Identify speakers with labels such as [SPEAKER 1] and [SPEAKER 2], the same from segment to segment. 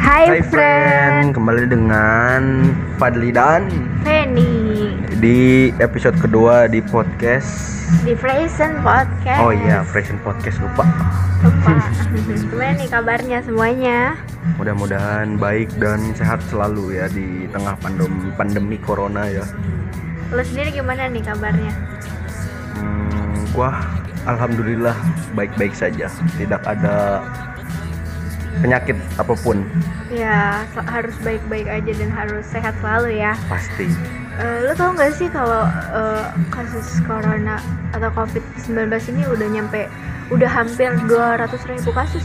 [SPEAKER 1] Hai,
[SPEAKER 2] Hai friend, kembali dengan Fadli dan
[SPEAKER 1] Feni
[SPEAKER 2] di episode kedua di podcast.
[SPEAKER 1] di Freshen Podcast.
[SPEAKER 2] Oh iya, Fashion Podcast lupa.
[SPEAKER 1] Lupa. Gimana nih kabarnya semuanya?
[SPEAKER 2] Mudah-mudahan baik dan sehat selalu ya di tengah pandemi pandemi corona ya.
[SPEAKER 1] Lo sendiri gimana nih kabarnya?
[SPEAKER 2] Hmm, gua alhamdulillah baik-baik saja. Tidak ada penyakit apapun
[SPEAKER 1] Ya so- harus baik-baik aja dan harus sehat selalu ya.
[SPEAKER 2] pasti.
[SPEAKER 1] Eh, lo tau gak sih kalau eh, kasus corona atau COVID-19 ini udah nyampe udah hampir 200 ribu kasus?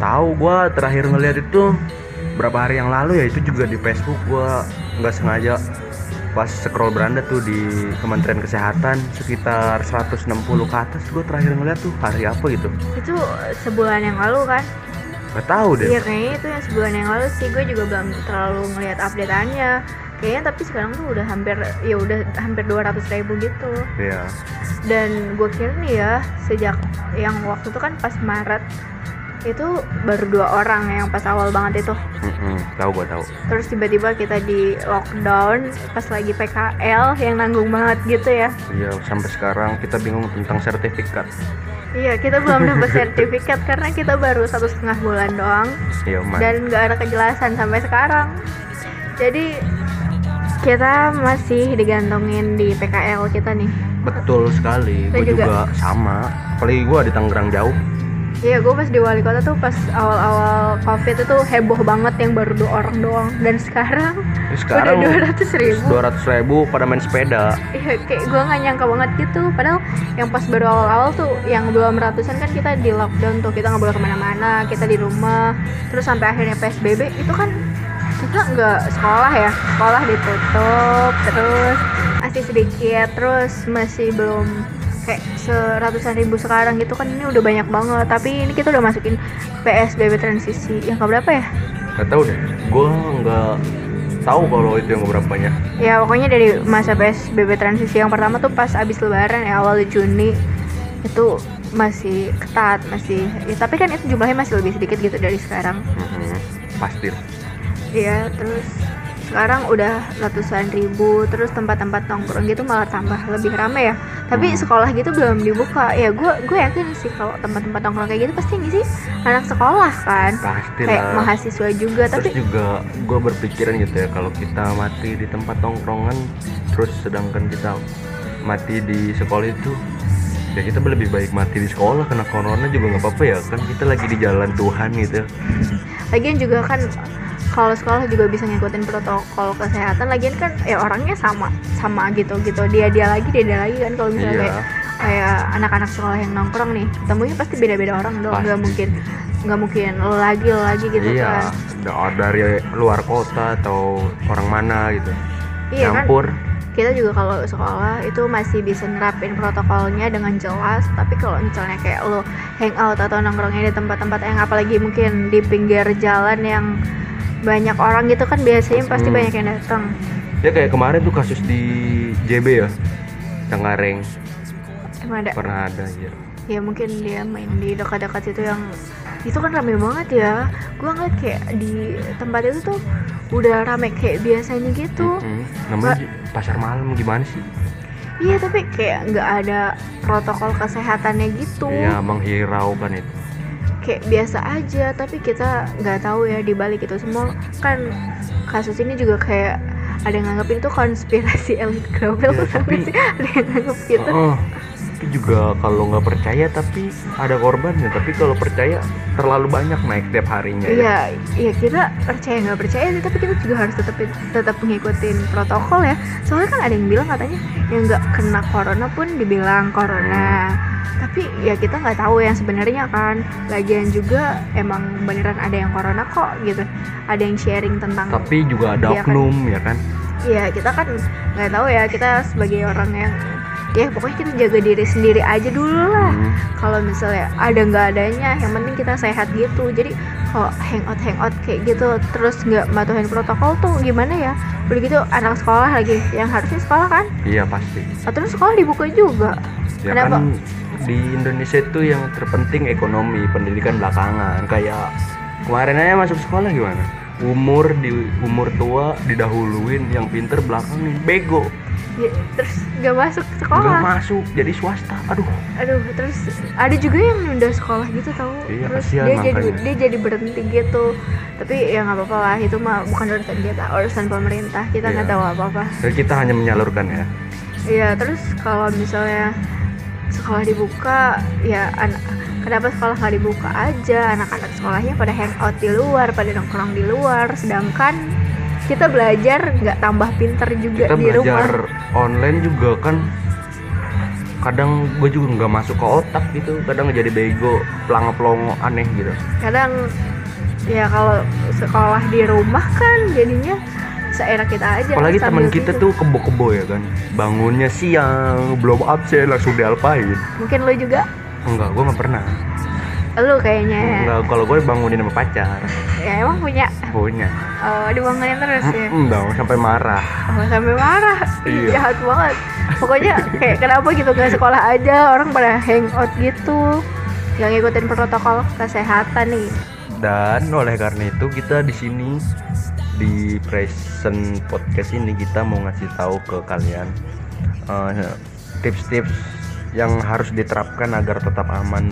[SPEAKER 2] Tahu gua terakhir ngeliat itu berapa hari yang lalu ya itu juga di Facebook gua nggak sengaja pas scroll beranda tuh di Kementerian Kesehatan sekitar 160 ke atas gua terakhir ngeliat tuh hari apa gitu
[SPEAKER 1] Itu sebulan yang lalu kan?
[SPEAKER 2] nggak tahu deh
[SPEAKER 1] Iya kayaknya itu yang sebulan yang lalu sih gue juga belum terlalu ngelihat updateannya. Kayaknya tapi sekarang tuh udah hampir ya udah hampir 200 ribu gitu.
[SPEAKER 2] Iya.
[SPEAKER 1] Dan gue kira nih ya sejak yang waktu itu kan pas Maret itu baru dua orang yang pas awal banget itu.
[SPEAKER 2] Mm-mm, tahu gua tahu
[SPEAKER 1] Terus tiba-tiba kita di lockdown pas lagi PKL yang nanggung banget gitu ya.
[SPEAKER 2] iya sampai sekarang kita bingung tentang sertifikat
[SPEAKER 1] Iya kita belum dapat sertifikat karena kita baru satu setengah bulan doang.
[SPEAKER 2] iya man
[SPEAKER 1] dan nggak ada kejelasan sampai sekarang. Jadi kita masih digantungin di PKL kita nih.
[SPEAKER 2] betul sekali
[SPEAKER 1] Saya
[SPEAKER 2] gua juga.
[SPEAKER 1] juga.
[SPEAKER 2] sama apalagi gua di Tangerang jauh
[SPEAKER 1] Iya, gue pas di wali kota tuh pas awal-awal covid itu heboh banget yang baru dua orang doang dan sekarang,
[SPEAKER 2] Terus sekarang
[SPEAKER 1] udah 200 ribu.
[SPEAKER 2] 200 ribu pada main sepeda
[SPEAKER 1] Iya, kayak gue nggak nyangka banget gitu. Padahal yang pas baru awal-awal tuh yang belum ratusan kan kita di lockdown tuh kita nggak boleh kemana-mana, kita di rumah. Terus sampai akhirnya psbb itu kan kita nggak sekolah ya, sekolah ditutup, terus masih sedikit, terus masih belum kayak seratusan ribu sekarang gitu kan ini udah banyak banget. Tapi ini kita udah masukin psbb transisi yang keberapa ya?
[SPEAKER 2] Gak tahu deh, gue nggak tahu kalau itu yang keberapanya.
[SPEAKER 1] Ya pokoknya dari masa PSBB transisi yang pertama tuh pas abis lebaran ya awal Juni itu masih ketat masih ya, tapi kan itu jumlahnya masih lebih sedikit gitu dari sekarang
[SPEAKER 2] Mm-hmm. Pasti. lah.
[SPEAKER 1] Iya terus sekarang udah ratusan ribu terus tempat-tempat nongkrong gitu malah tambah lebih rame ya tapi
[SPEAKER 2] Hmm.
[SPEAKER 1] sekolah gitu belum dibuka ya gue gue yakin sih kalau tempat-tempat nongkrong kayak gitu pasti ngisi anak sekolah kan
[SPEAKER 2] Pasti
[SPEAKER 1] kayak
[SPEAKER 2] lah.
[SPEAKER 1] mahasiswa juga
[SPEAKER 2] Terus
[SPEAKER 1] tapi
[SPEAKER 2] juga gue berpikiran gitu ya kalau kita mati di tempat tongkrongan, terus sedangkan kita mati di sekolah itu, ya kita lebih baik mati di sekolah karena corona juga nggak apa-apa ya kan kita lagi di jalan Tuhan gitu.
[SPEAKER 1] Lagian juga kan kalau sekolah juga bisa ngikutin protokol kesehatan. Lagian kan ya orangnya sama sama gitu gitu. Dia dia lagi dia dia lagi kan kalau misalnya
[SPEAKER 2] Iya.
[SPEAKER 1] kayak- kayak anak-anak sekolah yang nongkrong nih ketemunya pasti beda-beda orang dong. Nggak
[SPEAKER 2] Pasti.
[SPEAKER 1] mungkin nggak mungkin lo lagi lo lagi gitu kan.
[SPEAKER 2] iya. da- Dari luar kota atau orang mana gitu.
[SPEAKER 1] Iya kan.
[SPEAKER 2] Campur.
[SPEAKER 1] Kita juga kalau sekolah itu masih bisa nerapin protokolnya dengan jelas. Tapi kalau misalnya kayak lo hangout atau nongkrongnya di tempat-tempat yang apalagi mungkin di pinggir jalan yang banyak orang gitu kan biasanya pasti
[SPEAKER 2] Hmm.
[SPEAKER 1] banyak yang datang.
[SPEAKER 2] Ya kayak kemarin tuh kasus di JB ya, Tangerang
[SPEAKER 1] Emang ada
[SPEAKER 2] pernah ada ya.
[SPEAKER 1] ya mungkin dia main di dekat-dekat itu yang itu kan rame banget ya gue ngeliat kayak di tempat itu tuh udah rame kayak biasanya gitu
[SPEAKER 2] Mm-mm. Namanya
[SPEAKER 1] Nggak-
[SPEAKER 2] ju- pasar malam gimana sih?
[SPEAKER 1] iya tapi kayak nggak ada protokol kesehatannya gitu
[SPEAKER 2] Ya menghiraukan itu.
[SPEAKER 1] kayak biasa aja tapi kita nggak tahu ya di balik itu semua kan kasus ini juga kayak ada yang nganggap itu konspirasi elit global tau
[SPEAKER 2] Ya,
[SPEAKER 1] nggak
[SPEAKER 2] tapi-
[SPEAKER 1] sih? ada yang nganggap gitu
[SPEAKER 2] Heeh. Itu juga kalau nggak percaya tapi ada korbannya. Tapi kalau percaya terlalu banyak naik tiap harinya. ya.
[SPEAKER 1] Iya, iya kita percaya nggak percaya sih, tapi kita juga harus tetap tetap ngikutin protokol ya. Soalnya kan ada yang bilang katanya yang nggak kena corona pun dibilang corona. Tapi ya kita nggak tahu yang sebenarnya kan. Lagian juga emang beneran ada yang corona kok gitu. Ada yang sharing tentang.
[SPEAKER 2] Tapi juga ada
[SPEAKER 1] Iya kan.
[SPEAKER 2] oknum ya kan.
[SPEAKER 1] Iya kita kan nggak tahu ya kita sebagai orang yang ya pokoknya kita jaga diri sendiri aja dulu lah
[SPEAKER 2] Hmm.
[SPEAKER 1] kalau misalnya ada nggak adanya yang penting kita sehat gitu jadi kalau hangout hangout kayak gitu terus nggak matuhin protokol tuh gimana ya udah gitu anak sekolah lagi yang harusnya sekolah kan
[SPEAKER 2] Iya pasti.
[SPEAKER 1] Nah, terus sekolah dibuka juga
[SPEAKER 2] Ya
[SPEAKER 1] Kenapa?
[SPEAKER 2] kan di Indonesia itu yang terpenting ekonomi, pendidikan belakangan. Kayak kemarin aja masuk sekolah gimana? umur di umur tua didahuluin yang pinter belakangin bego
[SPEAKER 1] Ya, terus gak masuk
[SPEAKER 2] nggak
[SPEAKER 1] sekolah
[SPEAKER 2] masuk jadi swasta aduh
[SPEAKER 1] aduh terus ada juga yang nunda sekolah gitu tau
[SPEAKER 2] Iya,
[SPEAKER 1] terus
[SPEAKER 2] kasihan
[SPEAKER 1] dia jadi
[SPEAKER 2] makanya.
[SPEAKER 1] dia jadi berhenti gitu tapi ya nggak apa-apa lah itu mah bukan urusan kita urusan pemerintah kita nggak
[SPEAKER 2] Iya.
[SPEAKER 1] tahu apa-apa
[SPEAKER 2] jadi kita hanya menyalurkan ya
[SPEAKER 1] Iya, terus kalau misalnya sekolah dibuka, ya anak kenapa sekolah nggak dibuka aja? Anak-anak sekolahnya pada hangout di luar, pada nongkrong di luar, sedangkan kita belajar nggak tambah pinter juga
[SPEAKER 2] kita
[SPEAKER 1] di rumah.
[SPEAKER 2] belajar online juga kan kadang gue juga nggak masuk ke otak gitu kadang jadi bego pelanga pelongo aneh gitu
[SPEAKER 1] Kadang ya kalau sekolah di rumah kan jadinya seenak kita aja.
[SPEAKER 2] apalagi
[SPEAKER 1] sambil gitu.
[SPEAKER 2] teman kita
[SPEAKER 1] tidur.
[SPEAKER 2] tuh kebo-kebo ya kan bangunnya siang belum absen langsung dialpain
[SPEAKER 1] Mungkin lo juga,
[SPEAKER 2] enggak gue nggak pernah
[SPEAKER 1] lo kayaknya.
[SPEAKER 2] enggak kalau gue bangunin sama pacar
[SPEAKER 1] Ya emang punya.
[SPEAKER 2] punya
[SPEAKER 1] Oh, dibangunin terus ya.
[SPEAKER 2] Mm, dong sampai marah
[SPEAKER 1] Nggak sampai marah Ih,
[SPEAKER 2] Iya.
[SPEAKER 1] jahat banget pokoknya kayak kenapa gitu nggak sekolah aja orang pada hangout gitu yang ngikutin protokol kesehatan nih
[SPEAKER 2] dan oleh karena itu kita di sini di present podcast ini kita mau ngasih tahu ke kalian eh, tips-tips yang harus diterapkan agar tetap aman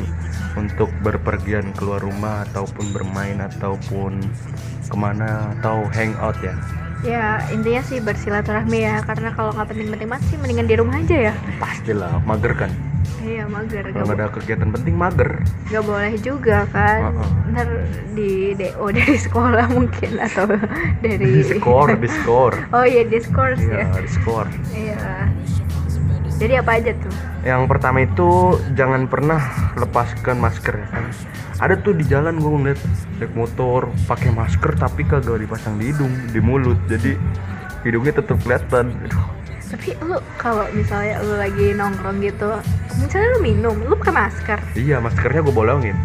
[SPEAKER 2] untuk berpergian keluar rumah ataupun bermain ataupun kemana atau hangout ya
[SPEAKER 1] ya intinya sih bersilaturahmi ya karena kalau nggak penting-penting banget sih mendingan di rumah aja ya
[SPEAKER 2] pastilah mager kan
[SPEAKER 1] iya mager
[SPEAKER 2] kalau nggak
[SPEAKER 1] nggak
[SPEAKER 2] ada kegiatan penting mager
[SPEAKER 1] nggak boleh juga kan
[SPEAKER 2] Heeh.
[SPEAKER 1] ntar di do dari sekolah mungkin atau dari
[SPEAKER 2] diskor diskor
[SPEAKER 1] oh iya diskors
[SPEAKER 2] iya
[SPEAKER 1] ya
[SPEAKER 2] diskor
[SPEAKER 1] iya jadi apa aja tuh
[SPEAKER 2] Yang pertama itu jangan pernah lepaskan masker ya kan. Ada tuh di jalan gue ngeliat naik motor pakai masker tapi kagak dipasang di hidung, di mulut. Jadi hidungnya tetap kelihatan. Aduh,
[SPEAKER 1] tapi lu kalau misalnya lu lagi nongkrong gitu misalnya lu minum lu pakai masker
[SPEAKER 2] iya maskernya gue bolongin.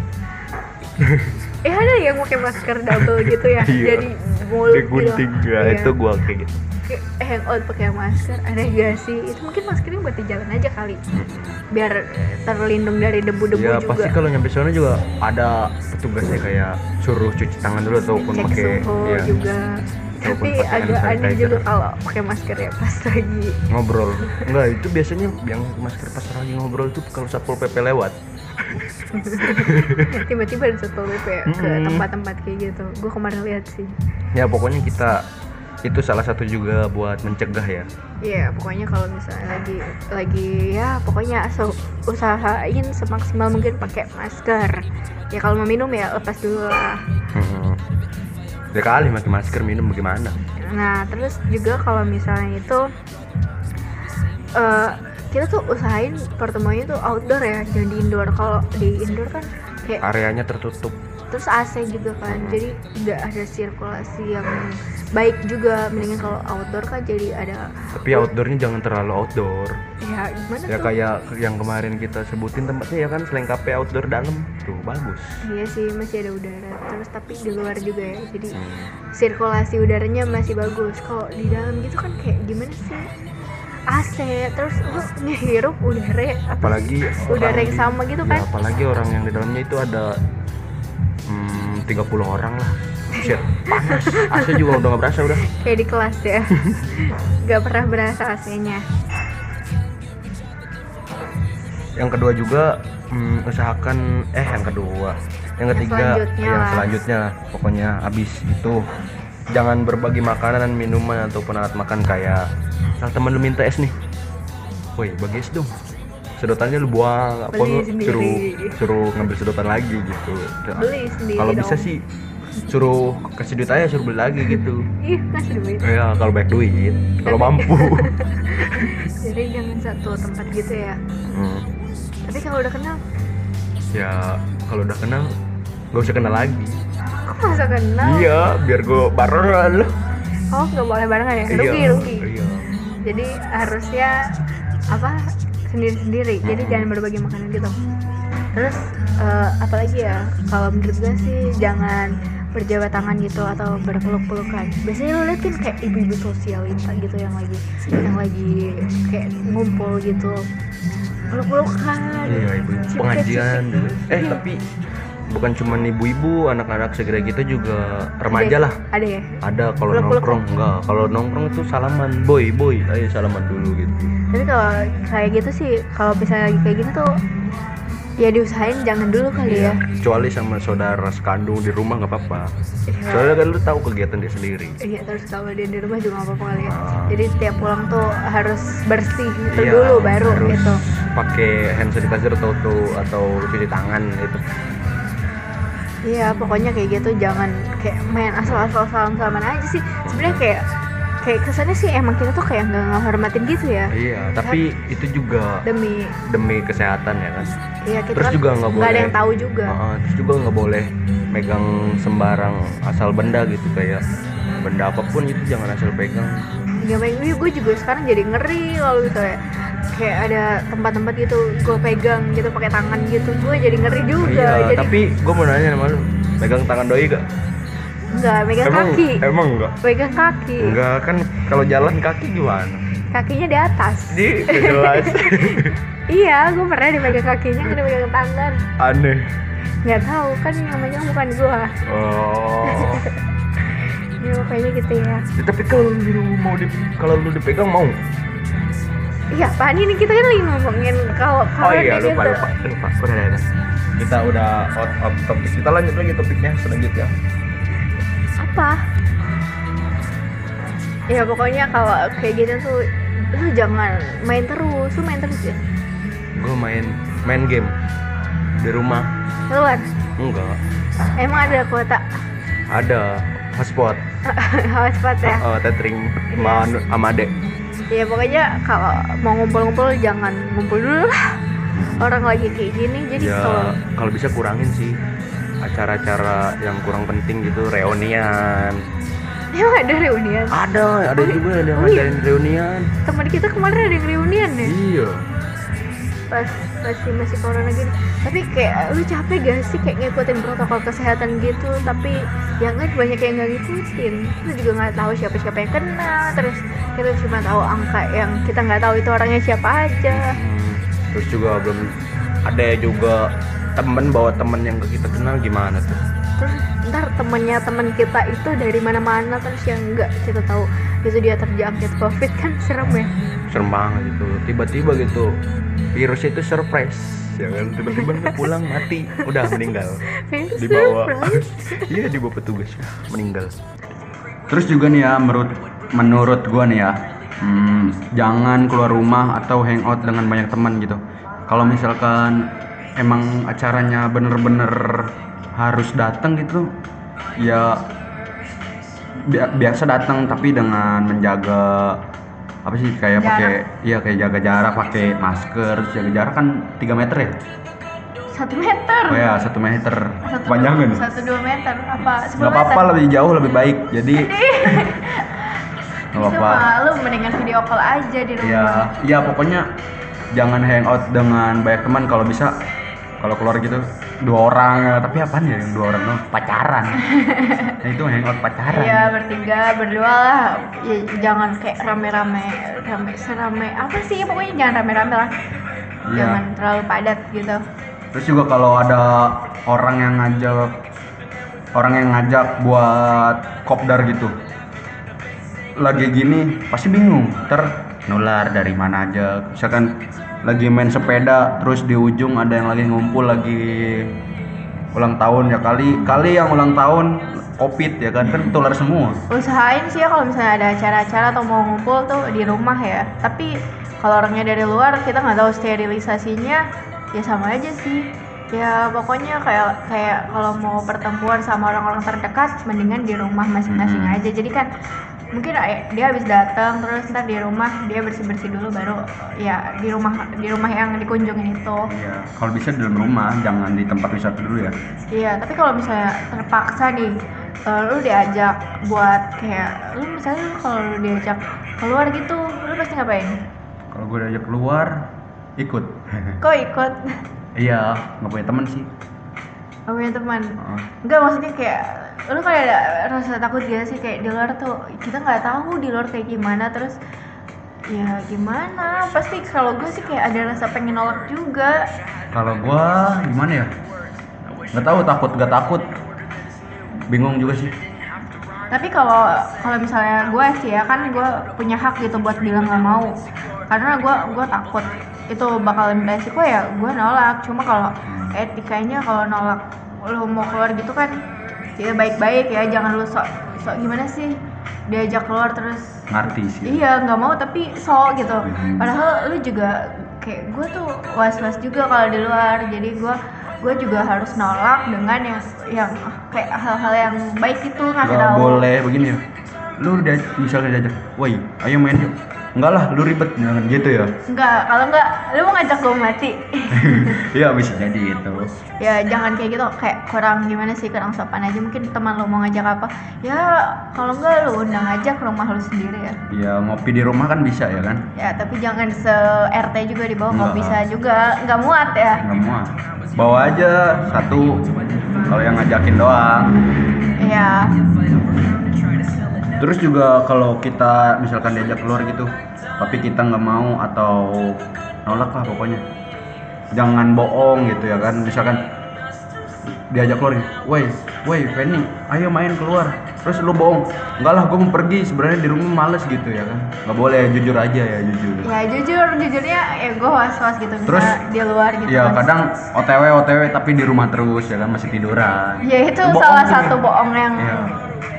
[SPEAKER 1] eh ada yang pakai masker double gitu ya
[SPEAKER 2] Iya.
[SPEAKER 1] jadi mulut gitu.
[SPEAKER 2] Digunting
[SPEAKER 1] Iya.
[SPEAKER 2] ya, itu gue kayak gitu.
[SPEAKER 1] Kayak hangout pakai masker aneh gak sih itu mungkin maskernya buat di jalan aja kali biar terlindung dari debu-debu
[SPEAKER 2] Ya
[SPEAKER 1] juga
[SPEAKER 2] pasti kalau nyampe sana juga ada petugasnya kayak suruh cuci tangan dulu ataupun
[SPEAKER 1] cek
[SPEAKER 2] pakai
[SPEAKER 1] suhu
[SPEAKER 2] iya,
[SPEAKER 1] juga
[SPEAKER 2] Ataupun
[SPEAKER 1] tapi
[SPEAKER 2] pakai hand
[SPEAKER 1] agak aneh
[SPEAKER 2] sanitizer.
[SPEAKER 1] juga kalau pakai masker ya pas lagi
[SPEAKER 2] ngobrol. Enggak, itu biasanya yang masker pas lagi ngobrol tuh kalau satpol PP lewat.
[SPEAKER 1] tiba-tiba ada satu WP ya, ke
[SPEAKER 2] Mm-mm.
[SPEAKER 1] tempat-tempat kayak gitu gue kemarin lihat sih
[SPEAKER 2] ya pokoknya kita itu salah satu juga buat mencegah ya
[SPEAKER 1] Iya, pokoknya kalau misalnya lagi lagi ya pokoknya so, usahain semaksimal mungkin pakai masker. Ya kalau mau minum ya lepas dulu lah.
[SPEAKER 2] ya kali pakai masker minum bagaimana
[SPEAKER 1] Nah, terus juga kalau misalnya itu eh kita tuh usahain pertemuannya tuh outdoor ya, jangan di indoor. Kalau di indoor kan kayak
[SPEAKER 2] areanya tertutup
[SPEAKER 1] terus AC juga kan. Jadi nggak ada sirkulasi yang baik juga. Mendingan kalau outdoor kan jadi ada
[SPEAKER 2] tapi outdoornya jangan terlalu outdoor
[SPEAKER 1] ya gimana
[SPEAKER 2] ya
[SPEAKER 1] tuh?
[SPEAKER 2] kayak yang kemarin kita sebutin tempatnya ya kan selengkapnya outdoor dalam tuh bagus
[SPEAKER 1] Iya sih masih ada udara terus tapi di luar juga ya jadi
[SPEAKER 2] Hmm.
[SPEAKER 1] sirkulasi udaranya masih bagus kalau di dalam gitu kan kayak gimana sih AC terus lu ngehirup udara yang- apa
[SPEAKER 2] apalagi
[SPEAKER 1] udara
[SPEAKER 2] orang
[SPEAKER 1] yang
[SPEAKER 2] di-
[SPEAKER 1] sama gitu
[SPEAKER 2] ya,
[SPEAKER 1] kan
[SPEAKER 2] apalagi orang yang di dalamnya itu ada hmm, 30 orang lah Buset, panas AC juga udah nggak berasa udah
[SPEAKER 1] kayak di kelas ya nggak pernah berasa AC-nya
[SPEAKER 2] yang kedua juga hmm, usahakan eh yang kedua
[SPEAKER 1] Yang
[SPEAKER 2] yang ketiga
[SPEAKER 1] selanjutnya
[SPEAKER 2] yang
[SPEAKER 1] lah.
[SPEAKER 2] selanjutnya pokoknya habis itu jangan berbagi makanan dan minuman ataupun alat makan kayak misal temen lu minta es nih woi bagi es dong sedotannya lu buang apa
[SPEAKER 1] Beli
[SPEAKER 2] lu
[SPEAKER 1] sendiri.
[SPEAKER 2] suruh suruh ngambil sedotan lagi gitu
[SPEAKER 1] beli sendiri
[SPEAKER 2] kalau bisa
[SPEAKER 1] dong.
[SPEAKER 2] sih suruh kasih duit aja suruh beli lagi gitu
[SPEAKER 1] ih kasih duit
[SPEAKER 2] ya kalau banyak duit kalau mampu
[SPEAKER 1] jadi jangan satu tempat gitu ya
[SPEAKER 2] Hmm.
[SPEAKER 1] tapi kalau udah kenal
[SPEAKER 2] ya kalau udah kenal gak usah kenal lagi
[SPEAKER 1] kok masa kenal
[SPEAKER 2] Iya, biar gue barengan lu.
[SPEAKER 1] oh nggak boleh barengan ya rugi rugi
[SPEAKER 2] Iya.
[SPEAKER 1] jadi harusnya apa sendiri-sendiri jadi jangan berbagi makanan gitu terus eh, apalagi ya kalau menurut gue sih jangan berjabat tangan gitu atau berpeluk-pelukan biasanya lo liat kan kayak ibu-ibu sosialita gitu yang lagi yang lagi kayak ngumpul gitu peluk-pelukan
[SPEAKER 2] Iya, ibu
[SPEAKER 1] cipika-cipiki.
[SPEAKER 2] pengajian dulu. Eh,
[SPEAKER 1] Iya.
[SPEAKER 2] tapi bukan cuman ibu-ibu anak-anak segera gitu juga remaja lah
[SPEAKER 1] ada ya
[SPEAKER 2] ada kalau
[SPEAKER 1] Peluk-peluk.
[SPEAKER 2] nongkrong enggak kalau nongkrong itu salaman boy boy ayo salaman dulu gitu
[SPEAKER 1] tapi kalau kayak gitu sih kalau misalnya lagi kayak gitu tuh ya diusahain jangan dulu kali ya
[SPEAKER 2] kecuali sama saudara sekandung di rumah nggak apa-apa soalnya kan lu tahu kegiatan dia sendiri
[SPEAKER 1] Iya terus kalau dia di rumah juga nggak apa-apa kali ya.
[SPEAKER 2] Ah.
[SPEAKER 1] Jadi tiap pulang tuh harus bersih gitu
[SPEAKER 2] Iya,
[SPEAKER 1] dulu baru
[SPEAKER 2] harus
[SPEAKER 1] gitu.
[SPEAKER 2] pakai hand sanitizer atau atau- atau cuci tangan gitu
[SPEAKER 1] Iya pokoknya kayak gitu jangan kayak main asal-asal salam salaman aja sih. Sebenarnya kayak kayak kesannya sih emang kita tuh kayak nggak ngehormatin gitu ya
[SPEAKER 2] iya tapi itu juga
[SPEAKER 1] demi
[SPEAKER 2] demi kesehatan ya kan
[SPEAKER 1] ya kita
[SPEAKER 2] Terus
[SPEAKER 1] kan
[SPEAKER 2] juga nggak
[SPEAKER 1] ada
[SPEAKER 2] boleh. Ah.
[SPEAKER 1] yang tahu juga.
[SPEAKER 2] Heeh, terus juga nggak boleh megang sembarang asal benda gitu kayak benda apapun itu jangan asal pegang
[SPEAKER 1] Ya main gue gue juga sekarang jadi ngeri kalau gitu ya. Kayak ada tempat-tempat gitu gue pegang gitu pakai tangan gitu gue jadi ngeri juga.
[SPEAKER 2] iya
[SPEAKER 1] jadi
[SPEAKER 2] tapi gue mau nanya sama lu megang tangan doi gak?
[SPEAKER 1] nggak megang
[SPEAKER 2] emang
[SPEAKER 1] kaki, Iya.
[SPEAKER 2] emang enggak
[SPEAKER 1] pegang kaki,
[SPEAKER 2] enggak kan kalau jalan kaki gimana
[SPEAKER 1] kakinya di atas.
[SPEAKER 2] jadi nggak jelas
[SPEAKER 1] Iya, gue pernah dipegang kakinya, gue dipegang tangan.
[SPEAKER 2] aneh
[SPEAKER 1] Nggak tahu kan yang megang bukan gue.
[SPEAKER 2] oh
[SPEAKER 1] Ya pokoknya gitu ya.
[SPEAKER 2] Ya, tapi kalau lu mau di kalau lu dipegang mau
[SPEAKER 1] Iya, apaan ini kita kan lagi ngomongin kalau
[SPEAKER 2] oh
[SPEAKER 1] kalau
[SPEAKER 2] iya
[SPEAKER 1] kayak gitu.
[SPEAKER 2] lupa lupa lupa udah udah, udah. kita udah out of topic kita lanjut lagi topiknya selanjutnya
[SPEAKER 1] Apa? Ya pokoknya kalau kayak gitu tuh lu jangan main terus, lu main terus ya.
[SPEAKER 2] gue main main game di rumah
[SPEAKER 1] Keluar.
[SPEAKER 2] enggak
[SPEAKER 1] Emang ada kuota
[SPEAKER 2] ada hotspot
[SPEAKER 1] hotspot ya.
[SPEAKER 2] oh, tethering sama anu- sama adek
[SPEAKER 1] Ya pokoknya kalau mau ngumpul-ngumpul jangan ngumpul dulu lah. Orang lagi kayak gini jadi
[SPEAKER 2] ya
[SPEAKER 1] kalau
[SPEAKER 2] kalau bisa kurangin sih acara-acara yang kurang penting gitu reunian
[SPEAKER 1] Emang ada reunian.
[SPEAKER 2] ada ada juga yang
[SPEAKER 1] oh iya.
[SPEAKER 2] ngadain reunian
[SPEAKER 1] teman kita kemarin ada yang reunian ya
[SPEAKER 2] iya
[SPEAKER 1] pas masih masih corona gini tapi kayak lu capek gak sih kayak ngikutin protokol kesehatan gitu tapi yang kan banyak yang nggak ngikutin lu juga nggak tahu siapa siapa yang kena terus kita cuma tahu angka yang kita nggak tahu itu orangnya siapa aja
[SPEAKER 2] Hmm, terus juga belum ada juga temen bawa temen yang kita kenal gimana tuh
[SPEAKER 1] terus ntar temennya teman kita itu dari mana-mana terus yang nggak kita tahu itu dia terjangkit covid kan serem ya
[SPEAKER 2] serem banget gitu tiba-tiba gitu virus itu surprise ya kan tiba-tiba dia pulang mati udah meninggal
[SPEAKER 1] Kayak
[SPEAKER 2] dibawa
[SPEAKER 1] surprise.
[SPEAKER 2] iya dibawa petugas meninggal terus juga nih ya menurut menurut gua nih ya hmm, jangan keluar rumah atau hangout dengan banyak teman gitu kalau misalkan emang acaranya bener-bener harus datang gitu ya bi- biasa datang tapi dengan menjaga apa sih
[SPEAKER 1] Jarak.
[SPEAKER 2] kayak pakai iya kayak jaga jarak pakai masker terus jaga jarak kan 3 meter ya
[SPEAKER 1] satu meter
[SPEAKER 2] oh ya satu meter
[SPEAKER 1] Satu-
[SPEAKER 2] panjang kan
[SPEAKER 1] satu dua meter apa
[SPEAKER 2] nggak
[SPEAKER 1] sepuluh meter
[SPEAKER 2] apa-apa lebih jauh lebih baik jadi nggak
[SPEAKER 1] Itu
[SPEAKER 2] apa-apa
[SPEAKER 1] malu mendingan video call aja di
[SPEAKER 2] ya
[SPEAKER 1] rumah.
[SPEAKER 2] ya pokoknya jangan hangout dengan banyak teman kalau bisa kalau keluar gitu dua orang tapi apaan ya yang dua orang doang? pacaran nah, itu hangout pacaran
[SPEAKER 1] Iya bertiga berdua lah. Ya, jangan kayak rame-rame, rame serame apa sih? Pokoknya jangan rame-rame lah.
[SPEAKER 2] Iya.
[SPEAKER 1] Jangan terlalu padat gitu.
[SPEAKER 2] terus juga kalau ada orang yang ngajak orang yang ngajak buat kopdar gitu lagi gini pasti bingung ter nular dari mana aja misalkan lagi main sepeda terus di ujung ada yang lagi ngumpul lagi ulang tahun ya kali kali yang ulang tahun covid ya kan kan tular semua
[SPEAKER 1] Usahain sih ya kalau misalnya ada acara-acara atau mau ngumpul tuh di rumah ya. Tapi kalau orangnya dari luar kita nggak tahu sterilisasinya ya sama aja sih. Ya pokoknya kayak kayak kalau mau pertemuan sama orang-orang terdekat mendingan di rumah masing-masing
[SPEAKER 2] Mm-mm.
[SPEAKER 1] aja. Jadi kan mungkin eh, dia habis datang terus ntar di rumah dia bersih-bersih dulu baru ya di rumah di rumah yang dikunjungin itu.
[SPEAKER 2] ya kalau bisa di dalam rumah jangan di tempat wisata dulu ya
[SPEAKER 1] Iya, tapi kalau misalnya terpaksa nih, eh, lu diajak buat kayak, lu misalnya lu kalau lu diajak keluar gitu, lu pasti ngapain?
[SPEAKER 2] kalau gue diajak keluar ikut
[SPEAKER 1] Kok ikut?
[SPEAKER 2] iya nggak punya teman sih
[SPEAKER 1] Gak punya teman?
[SPEAKER 2] Heeh.
[SPEAKER 1] Enggak, maksudnya kayak, lu kayak ada rasa takut gak sih kayak di luar tuh, kita nggak tahu di luar kayak gimana, terus ya gimana? Pasti kalau gue sih kayak ada rasa pengen nolak juga.
[SPEAKER 2] Kalau gua gimana ya? nggak tahu takut nggak takut bingung juga sih
[SPEAKER 1] tapi kalau kalau misalnya gue sih ya kan gue punya hak gitu buat bilang nggak mau karena gue gue takut itu bakal beresiko ya gue nolak cuma kalau etikanya kalau nolak lu mau keluar gitu kan ya baik-baik ya jangan lu sok sok gimana sih diajak keluar terus
[SPEAKER 2] ngerti sih
[SPEAKER 1] iya nggak mau tapi sok gitu padahal lu juga kayak gue tuh was-was juga kalau di luar jadi gue gue juga harus nolak dengan yang yang kayak hal-hal yang baik itu ngasih
[SPEAKER 2] nggak
[SPEAKER 1] tahu
[SPEAKER 2] boleh begini ya lu udah misalnya diajak woi ayo main yuk enggak lah lu ribet jangan gitu ya
[SPEAKER 1] Enggak, kalau enggak lu mau ngajak gue mati.
[SPEAKER 2] iya bisa jadi gitu
[SPEAKER 1] ya jangan kayak gitu, kayak kurang gimana sih, kurang sopan aja. Mungkin teman lu mau ngajak apa? Ya kalau enggak lu undang aja ke rumah lu sendiri ya.
[SPEAKER 2] ya ngopi di rumah kan bisa ya kan
[SPEAKER 1] Ya tapi jangan se RT juga di bawah nggak
[SPEAKER 2] Enggak.
[SPEAKER 1] bisa juga, nggak muat ya.
[SPEAKER 2] nggak muat bawa aja satu kalau yang ngajakin doang
[SPEAKER 1] Ya
[SPEAKER 2] terus juga kalau kita misalkan diajak keluar gitu tapi kita nggak mau atau nolak lah pokoknya jangan bohong gitu ya kan misalkan diajak keluar gitu, woi woi Feni ayo main keluar terus lu bohong enggak lah gue mau pergi sebenarnya di rumah males gitu ya kan nggak boleh jujur aja ya jujur
[SPEAKER 1] ya jujur, jujurnya ya gue was-was gitu
[SPEAKER 2] Terus,
[SPEAKER 1] misalnya di luar gitu.
[SPEAKER 2] ya
[SPEAKER 1] kan.
[SPEAKER 2] kadang otw otw tapi di rumah terus ya kan masih tiduran
[SPEAKER 1] Ya itu
[SPEAKER 2] Bohong
[SPEAKER 1] salah
[SPEAKER 2] tuh,
[SPEAKER 1] satu
[SPEAKER 2] ya.
[SPEAKER 1] bohong yang
[SPEAKER 2] Iya.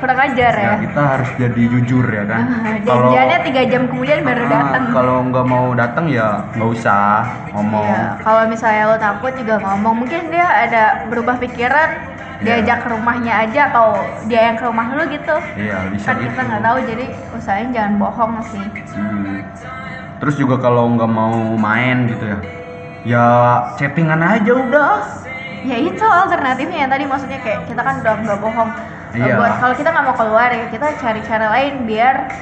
[SPEAKER 1] kurang ajar ya. Ah,
[SPEAKER 2] ya kita harus jadi jujur ya kan kalau
[SPEAKER 1] Janjiannya tiga jam kemudian baru
[SPEAKER 2] Ah,
[SPEAKER 1] datang.
[SPEAKER 2] kalau nggak mau datang ya nggak usah ngomong
[SPEAKER 1] Iya, kalau misalnya lo takut juga ngomong, mungkin dia ada berubah pikiran,
[SPEAKER 2] Iya.
[SPEAKER 1] diajak ke rumahnya aja atau dia yang ke rumah lo gitu.
[SPEAKER 2] iya bisa
[SPEAKER 1] Kan
[SPEAKER 2] gitu
[SPEAKER 1] kita nggak tahu, jadi usahain jangan bohong sih.
[SPEAKER 2] Hmm. terus juga kalau nggak mau main gitu ya ya chattingan aja udah
[SPEAKER 1] Ya itu alternatifnya yang tadi maksudnya kayak kita kan udah nggak bohong.
[SPEAKER 2] Iya.
[SPEAKER 1] Buat kalau kita nggak mau keluar ya kita cari cara lain biar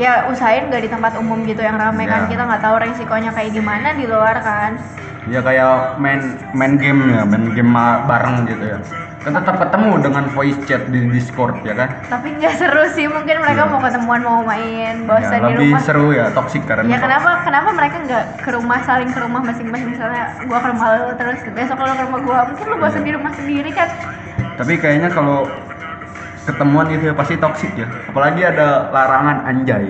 [SPEAKER 1] ya usahain gak di tempat umum gitu yang ramai kan
[SPEAKER 2] Iya.
[SPEAKER 1] kita nggak tahu resikonya kayak gimana di luar kan.
[SPEAKER 2] ya kayak main main game ya main game ma- bareng gitu ya kan tetap ketemu dengan voice chat di discord ya kan
[SPEAKER 1] Tapi nggak seru sih mungkin mereka
[SPEAKER 2] Iya.
[SPEAKER 1] mau ketemuan mau main
[SPEAKER 2] Ya,
[SPEAKER 1] bosan di
[SPEAKER 2] lebih
[SPEAKER 1] rumah.
[SPEAKER 2] seru ya toksik karena
[SPEAKER 1] Ya kenapa kenapa mereka nggak ke rumah saling ke rumah masing-masing misalnya gua ke rumah lu terus besok lu ke rumah gua mungkin lu
[SPEAKER 2] Iya.
[SPEAKER 1] bosan di rumah sendiri kan
[SPEAKER 2] tapi kayaknya kalau ketemuan gitu ya pasti toksik ya apalagi ada larangan anjay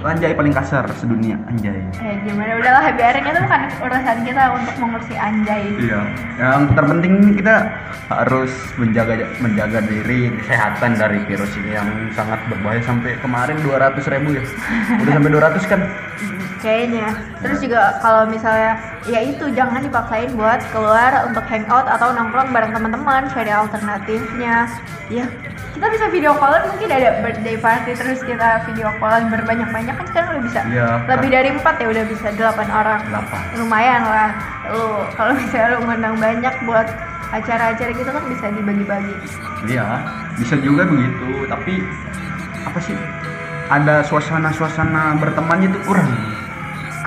[SPEAKER 2] anjay paling kasar sedunia anjay
[SPEAKER 1] ya gimana udahlah biarin itu bukan urusan kita untuk mengurusi anjay
[SPEAKER 2] iya yang terpenting kita harus menjaga menjaga diri kesehatan dari virus ini yang sangat berbahaya sampai kemarin 200.000 ribu ya udah sampai 200 kan
[SPEAKER 1] kayaknya terus juga kalau misalnya ya itu jangan dipaksain buat keluar untuk hangout atau nongkrong bareng teman-teman cari alternatifnya ya kita bisa video callan mungkin ada birthday party terus kita video callan berbanyak-banyak kan sekarang udah bisa
[SPEAKER 2] Iya.
[SPEAKER 1] lebih dari empat ya udah bisa delapan orang
[SPEAKER 2] Delapan.
[SPEAKER 1] lumayan lah lu kalau misalnya lu ngundang banyak buat acara-acara gitu kan bisa dibagi-bagi
[SPEAKER 2] iya bisa juga begitu tapi apa sih ada suasana-suasana bertemannya itu kurang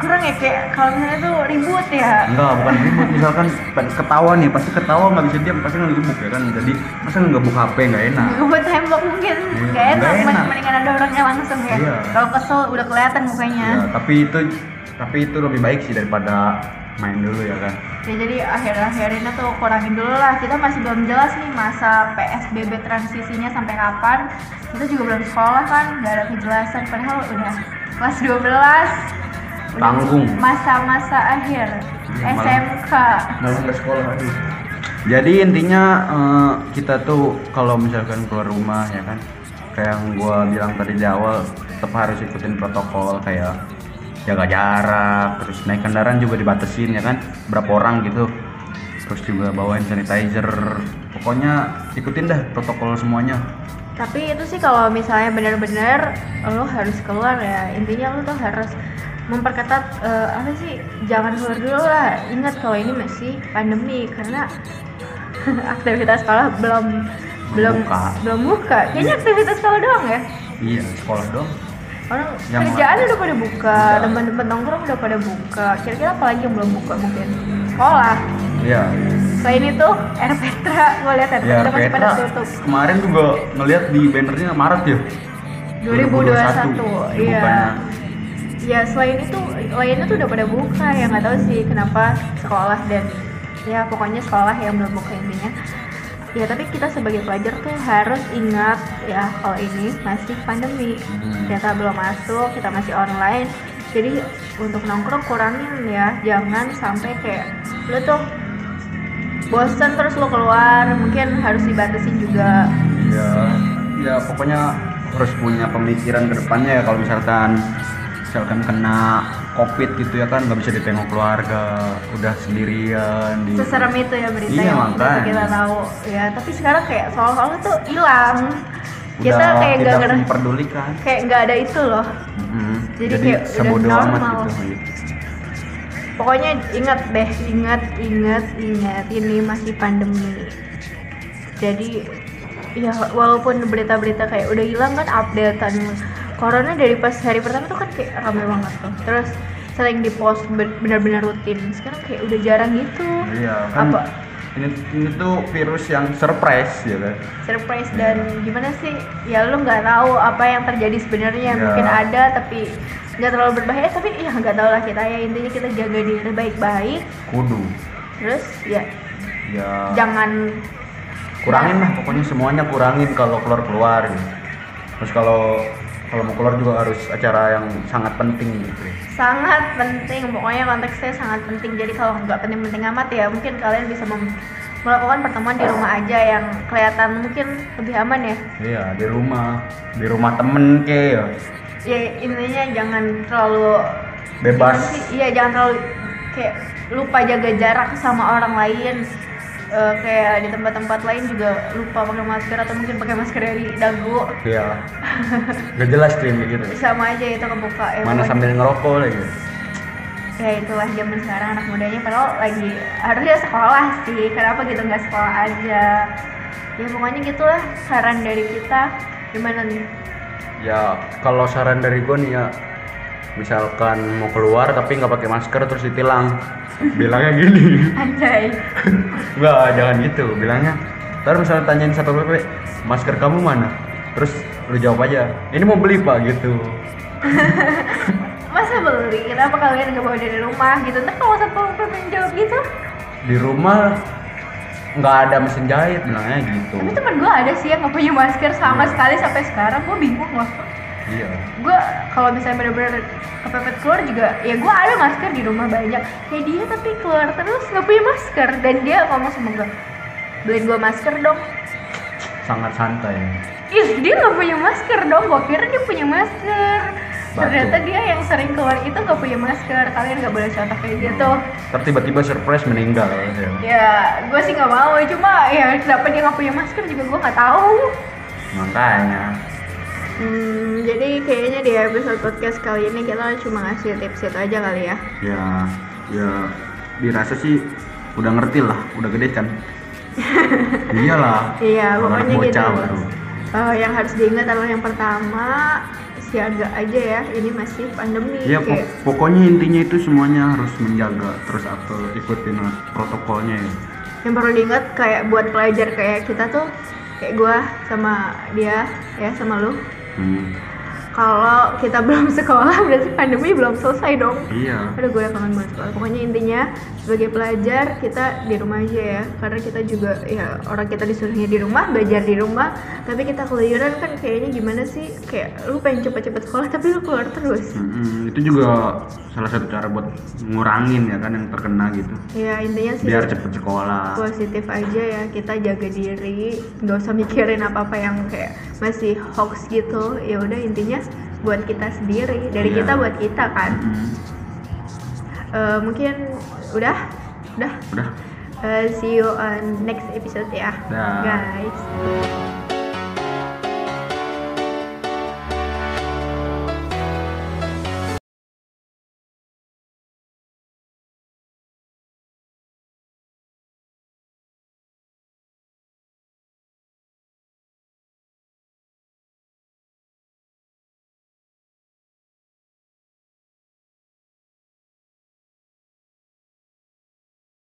[SPEAKER 1] kurang ya kayak kalau misalnya tuh ribut ya
[SPEAKER 2] Enggak, bukan ribut. Misalkan pen- ketawa nih, pasti ketawa nggak bisa diam, pasti ngegebuk ya kan. Jadi masa ngegebuk HP nggak enak.
[SPEAKER 1] buat tembok mungkin gak
[SPEAKER 2] Iya,
[SPEAKER 1] enak,
[SPEAKER 2] Hmm. nggak enak.
[SPEAKER 1] men- mendingan ada orangnya langsung ya
[SPEAKER 2] Iya.
[SPEAKER 1] kalau kesel udah kelihatan mukanya
[SPEAKER 2] Ya, tapi itu tapi itu lebih baik sih daripada main dulu ya kan.
[SPEAKER 1] ya jadi akhir-akhir ini tuh kurangin dulu lah kita masih belum jelas nih masa PSBB transisinya sampai kapan kita juga belum sekolah kan gak ada kejelasan padahal udah kelas 12 udah
[SPEAKER 2] Tanggung.
[SPEAKER 1] masa-masa akhir
[SPEAKER 2] Iya, malah.
[SPEAKER 1] SMK
[SPEAKER 2] Malah nggak sekolah aduh. Nah. Jadi intinya eh, kita tuh kalau misalkan keluar rumah ya kan, kayak yang gua bilang tadi di awal, tetap harus ikutin protokol kayak jaga jarak, terus naik kendaraan juga dibatasin ya kan, berapa orang gitu. Terus juga bawain sanitizer. Pokoknya ikutin dah protokol semuanya.
[SPEAKER 1] tapi itu sih kalau misalnya benar-benar lo harus keluar ya intinya lo tuh harus memperketat eh, apa sih jangan keluar dulu lah ingat kalau ini masih pandemi karena aktivitas sekolah belum belum
[SPEAKER 2] Buka.
[SPEAKER 1] belum buka kayaknya aktivitas sekolah doang ya
[SPEAKER 2] Iya, sekolah dong.
[SPEAKER 1] orang
[SPEAKER 2] Yang
[SPEAKER 1] kerjaan udah pada buka
[SPEAKER 2] Udah.
[SPEAKER 1] teman-teman nongkrong udah pada buka kira-kira apa lagi yang belum buka mungkin sekolah
[SPEAKER 2] Iya.
[SPEAKER 1] selain itu air Petra gue lihat air
[SPEAKER 2] Ya,
[SPEAKER 1] Petra masih pada
[SPEAKER 2] Petra
[SPEAKER 1] tutup
[SPEAKER 2] kemarin juga ngelihat di bannernya Maret ya.
[SPEAKER 1] 2021, iya.
[SPEAKER 2] Bukannya
[SPEAKER 1] Ya selain itu lainnya tuh udah pada buka ya nggak tahu sih kenapa sekolah dan ya pokoknya sekolah yang belum buka intinya ya tapi kita sebagai pelajar tuh harus ingat ya kalau ini masih pandemi
[SPEAKER 2] Hmm.
[SPEAKER 1] kita belum masuk kita masih online jadi untuk nongkrong kurangin ya jangan sampai kayak lu tuh bosen terus lu keluar mungkin harus dibatasi juga
[SPEAKER 2] ya ya pokoknya harus punya pemikiran ke depannya ya kalau misalkan misalkan kena covid gitu ya kan nggak bisa ditengok keluarga udah sendirian di
[SPEAKER 1] seserem itu ya berita
[SPEAKER 2] Iya,
[SPEAKER 1] yang
[SPEAKER 2] makanya.
[SPEAKER 1] waktu kita tahu ya tapi sekarang kayak soal-soal itu hilang kita
[SPEAKER 2] udah
[SPEAKER 1] kayak nggak
[SPEAKER 2] tidak
[SPEAKER 1] ngerti
[SPEAKER 2] memperdulikan
[SPEAKER 1] kayak nggak ada itu loh
[SPEAKER 2] Mm-mm.
[SPEAKER 1] Jadi kayak udah
[SPEAKER 2] sebodoh amat
[SPEAKER 1] normal.
[SPEAKER 2] gitu
[SPEAKER 1] pokoknya ingat deh ingat ingat ingat ini masih pandemi jadi ya walaupun berita-berita kayak udah hilang kan updatean corona dari pas hari pertama tuh kan kayak rame banget tuh terus sering dipost ber- benar-benar rutin sekarang kayak udah jarang gitu
[SPEAKER 2] iya kan
[SPEAKER 1] Apa?
[SPEAKER 2] ini ini tuh virus yang surprise ya kan
[SPEAKER 1] surprise dan gimana sih ya lu nggak tahu apa yang terjadi sebenarnya
[SPEAKER 2] Iya.
[SPEAKER 1] mungkin ada tapi nggak terlalu berbahaya tapi ya nggak tahu lah kita ya intinya kita jaga diri baik-baik
[SPEAKER 2] kudu
[SPEAKER 1] terus ya
[SPEAKER 2] ya
[SPEAKER 1] jangan
[SPEAKER 2] kurangin lah pokoknya semuanya kurangin kalau keluar keluar gitu. terus kalau kalau mau keluar juga harus acara yang sangat penting gitu
[SPEAKER 1] sangat penting pokoknya konteksnya sangat penting jadi kalau nggak penting-penting amat ya mungkin kalian bisa mem- melakukan pertemuan di rumah aja yang kelihatan mungkin lebih aman ya
[SPEAKER 2] iya di rumah di rumah temen ke ya.
[SPEAKER 1] ya intinya jangan terlalu
[SPEAKER 2] Bebas.
[SPEAKER 1] gimana sih? iya jangan terlalu kayak lupa jaga jarak sama orang lain Eh, kayak di tempat-tempat lain juga lupa pakai masker atau mungkin pakai masker dari dagu
[SPEAKER 2] iya gak jelas tuh yang kayak gitu
[SPEAKER 1] sama aja itu kebuka ya
[SPEAKER 2] mana
[SPEAKER 1] pokoknya.
[SPEAKER 2] sambil ngerokok lagi
[SPEAKER 1] ya itulah zaman sekarang anak mudanya padahal lagi harusnya sekolah sih kenapa gitu nggak sekolah aja ya pokoknya gitulah saran dari kita gimana nih
[SPEAKER 2] ya kalau saran dari gue nih ya misalkan mau keluar tapi nggak pakai masker terus ditilang bilangnya gini
[SPEAKER 1] anjay
[SPEAKER 2] Enggak, jangan gitu. Bilangnya, ntar misalnya tanyain satu PP, masker kamu mana? Terus lu jawab aja, ini mau beli pak gitu.
[SPEAKER 1] masa beli kenapa kalian nggak bawa dari rumah gitu ntar kalau sampai pengen jawab gitu
[SPEAKER 2] Di rumah nggak ada mesin jahit, bilangnya gitu.
[SPEAKER 1] tapi temen gue ada sih yang nggak punya masker sama sekali sampai sekarang gue bingung loh
[SPEAKER 2] Iya.
[SPEAKER 1] gue kalau misalnya bener-bener kepepet keluar juga ya gue ada masker di rumah banyak ya dia tapi keluar terus nggak punya masker dan dia ngomong sama gue beliin gue masker dong
[SPEAKER 2] Sangat santai.
[SPEAKER 1] ih dia nggak punya masker dong gue kira dia punya masker
[SPEAKER 2] Batu.
[SPEAKER 1] ternyata dia yang sering keluar itu nggak punya masker kalian nggak boleh contoh kayak gitu
[SPEAKER 2] Ntar tiba-tiba surprise meninggal. Ya.
[SPEAKER 1] ya gue sih nggak mau cuma ya kenapa dia nggak punya masker juga gue nggak tahu
[SPEAKER 2] Makanya.
[SPEAKER 1] Hmm, jadi kayaknya di episode podcast kali ini kita cuma ngasih tips itu aja kali ya.
[SPEAKER 2] Ya, ya dirasa sih udah ngerti lah, udah gede kan. Iyalah.
[SPEAKER 1] Iya, pokoknya
[SPEAKER 2] Orang
[SPEAKER 1] gitu.
[SPEAKER 2] bocah baru.
[SPEAKER 1] Eh, yang harus diingat adalah yang pertama siaga aja ya. Ini masih pandemi.
[SPEAKER 2] Ya
[SPEAKER 1] kayak-
[SPEAKER 2] pok- pokoknya intinya itu semuanya harus menjaga terus atau ikutin protokolnya ya.
[SPEAKER 1] yang perlu diingat kayak buat pelajar kayak kita tuh kayak gua sama dia ya sama lu.
[SPEAKER 2] Hmm.
[SPEAKER 1] Kalau kita belum sekolah berarti pandemi belum selesai dong.
[SPEAKER 2] Iya.
[SPEAKER 1] Aduh gue kangen banget sekolah. Pokoknya intinya sebagai pelajar kita di rumah aja ya. Karena kita juga ya orang kita disuruhnya di rumah, belajar di rumah. Tapi kita keluyuran kan kayaknya gimana sih? Kayak lu pengen cepet-cepet sekolah tapi lu keluar terus.
[SPEAKER 2] Mm-mm, Hmm, itu juga salah satu cara buat ngurangin ya kan yang terkena gitu.
[SPEAKER 1] Ya intinya sih
[SPEAKER 2] Biar cepet sekolah.
[SPEAKER 1] positif aja ya kita jaga diri nggak usah mikirin apa apa yang kayak masih hoax gitu ya udah intinya buat kita sendiri dari
[SPEAKER 2] Iya.
[SPEAKER 1] kita buat kita kan
[SPEAKER 2] Mm-mm.
[SPEAKER 1] Eh, mungkin udah udah
[SPEAKER 2] Udah.
[SPEAKER 1] Uh, see you on next episode ya,
[SPEAKER 2] Dah.
[SPEAKER 1] guys.